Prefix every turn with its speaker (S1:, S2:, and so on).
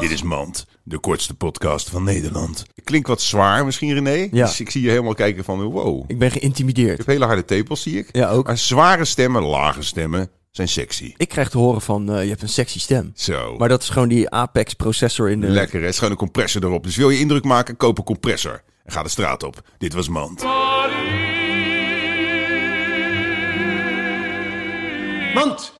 S1: Dit is Mand, de kortste podcast van Nederland. Klinkt wat zwaar misschien, René.
S2: Ja.
S1: Dus ik zie je helemaal kijken van, wow.
S2: Ik ben geïntimideerd.
S1: Je hebt hele harde tepels, zie ik.
S2: Ja, ook.
S1: Maar zware stemmen, lage stemmen, zijn sexy.
S2: Ik krijg te horen van, eh, je hebt een sexy stem.
S1: Zo.
S2: Maar dat is gewoon die Apex-processor in de...
S1: Lekker, hè? Het is gewoon een compressor erop. Dus wil je indruk maken, koop een compressor. En ga de straat op. Dit was Mand.
S3: Mand.